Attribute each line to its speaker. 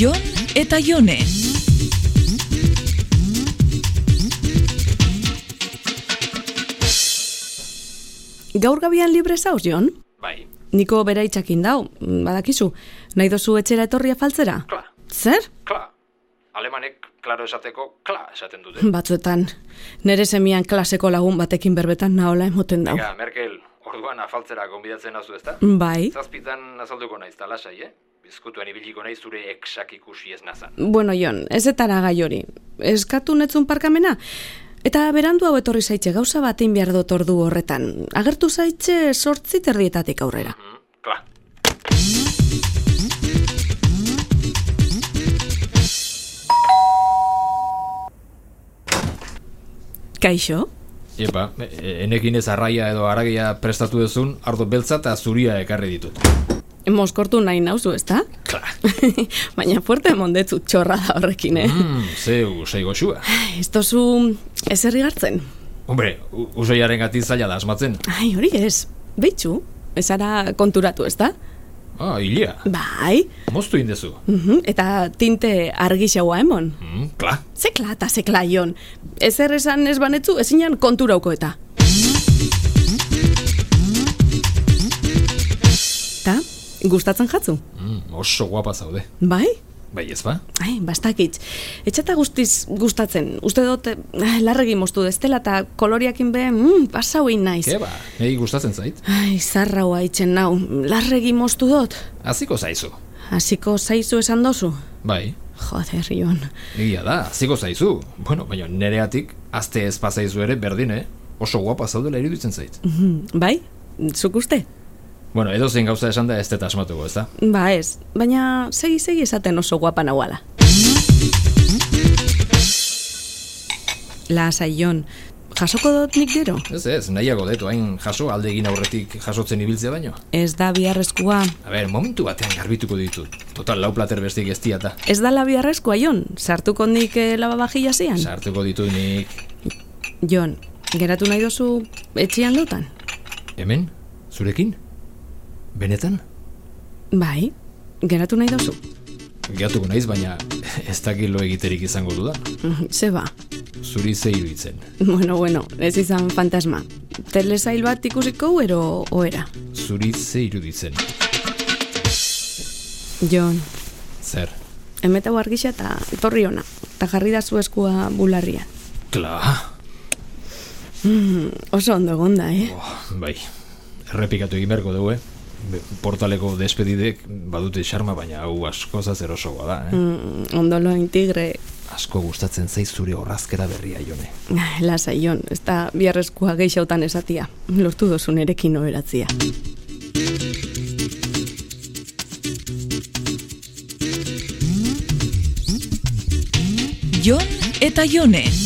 Speaker 1: Jon eta Jone.
Speaker 2: Gaur gabian libre zauz, Jon?
Speaker 3: Bai,
Speaker 2: Niko bera itxakin dau, badakizu. Nahi dozu etxera etorria faltzera?
Speaker 3: kla,
Speaker 2: Zer?
Speaker 3: kla. Alemanek, klaro esateko, kla esaten
Speaker 2: Mm,
Speaker 3: dute.
Speaker 2: Batzuetan, nere semian klaseko lagun batekin berbetan naola emoten dau.
Speaker 3: Ega, Merkel, orduan afaltzera gonbidatzen nazu ezta?
Speaker 2: Bai.
Speaker 3: Zazpitan azalduko naiz, ta lasai, eh? Bizkutuan ibiliko naiz zure eksak ikusi ez nazan.
Speaker 2: Bueno, Jon, ez etara gai hori. Eskatu netzun parkamena? Eta berandu hau etorri zaitxe gauza batein behar dut ordu horretan. Agertu zaitxe sortzi terdietatik aurrera.
Speaker 3: Mm, kla,
Speaker 2: Kaixo?
Speaker 4: Epa, e- enekin ez arraia edo aragia prestatu duzun, ardo beltza eta zuria ekarri ditut.
Speaker 2: Moskortu nahi nauzu, ezta?
Speaker 4: Kla.
Speaker 2: Baina fuerte mondetzu txorra da horrekin, eh?
Speaker 4: Mm, zeu, usai goxua.
Speaker 2: Ez tozu ezer gartzen.
Speaker 4: Hombre, u- usaiaren gati zaila da asmatzen.
Speaker 2: Ai, hori ez. Beitxu, ezara konturatu, ez da?
Speaker 4: Ah, hilia,
Speaker 2: Bai,
Speaker 4: moztu indezu.
Speaker 2: mhm, eta tinte argi xaua emon.
Speaker 4: Mm, kla.
Speaker 2: Zekla eta zekla ion. Ezer esan ez banetzu, ezinan konturauko eta. Ta, gustatzen jatzu?
Speaker 4: Mm, oso guapa zaude.
Speaker 2: Bai?
Speaker 4: Bai ez ba?
Speaker 2: Ai, bastakitz. Etxata guztiz gustatzen. Uste dut, eh, larregi moztu destela eta koloriakin be, mm, pasau egin naiz.
Speaker 4: Ke ba, niri gustatzen zait.
Speaker 2: Ai, zarrau haitzen nau, larregi moztu dut.
Speaker 4: Aziko zaizu.
Speaker 2: Hasiko zaizu esan dozu?
Speaker 4: Bai,
Speaker 2: Joder, Jon.
Speaker 4: egia da, aziko zaizu. Bueno, baina nereatik, azte ez pasaizu ere berdin, eh? Oso guapa zaudela iruditzen zait.
Speaker 2: Mhm, Bai? Zuk uste?
Speaker 4: Bueno, edozein gauza esan da ez dut asmatuko, ez da?
Speaker 2: Ba ez, baina segi-segi esaten oso guapa nahuala. Lasai, Jon. Jasoko dut nik gero?
Speaker 4: Ez ez, nahiago detu, hain jaso alde egin aurretik jasotzen ibiltzea baino.
Speaker 2: Ez da biharrezkoa.
Speaker 4: A ber, momentu batean garbituko ditut. Total, lau plater bestik ez diata.
Speaker 2: Ez da la biharrezkoa, Jon. Sartuko nik eh, lavavajilla zian?
Speaker 4: Sartuko ditu nik...
Speaker 2: Jon, geratu nahi dozu etxean dutan?
Speaker 4: Hemen? Zurekin? Benetan?
Speaker 2: Bai, geratu nahi dozu.
Speaker 4: Gatuko naiz, baina ez dakilo egiterik izango dudan.
Speaker 2: Zeba.
Speaker 4: Zuri ze iruditzen.
Speaker 2: Bueno, bueno, ez izan fantasma. Telesail bat ikusiko hu, ero oera.
Speaker 4: Zuri ze iruditzen.
Speaker 2: Jon,
Speaker 4: Zer?
Speaker 2: emeta argixa eta etorri ona. Eta jarri da zu eskua bularrian.
Speaker 4: Kla!
Speaker 2: Oso ondo egonda, eh?
Speaker 4: Oh, bai, errepikatu egin beharko dugu, eh? Be- Portaleko despedidek badute xarma, baina hau asko zazer osoa da, eh?
Speaker 2: Mm, ondo loen tigre,
Speaker 4: Asko gustatzen zaiz zure horrazkera berria, jone.
Speaker 2: Ah, lasa Jon, ez da biharrezkoa geixautan esatia. Lortu dozu nerekin oheratzia.
Speaker 1: Jon eta Jone.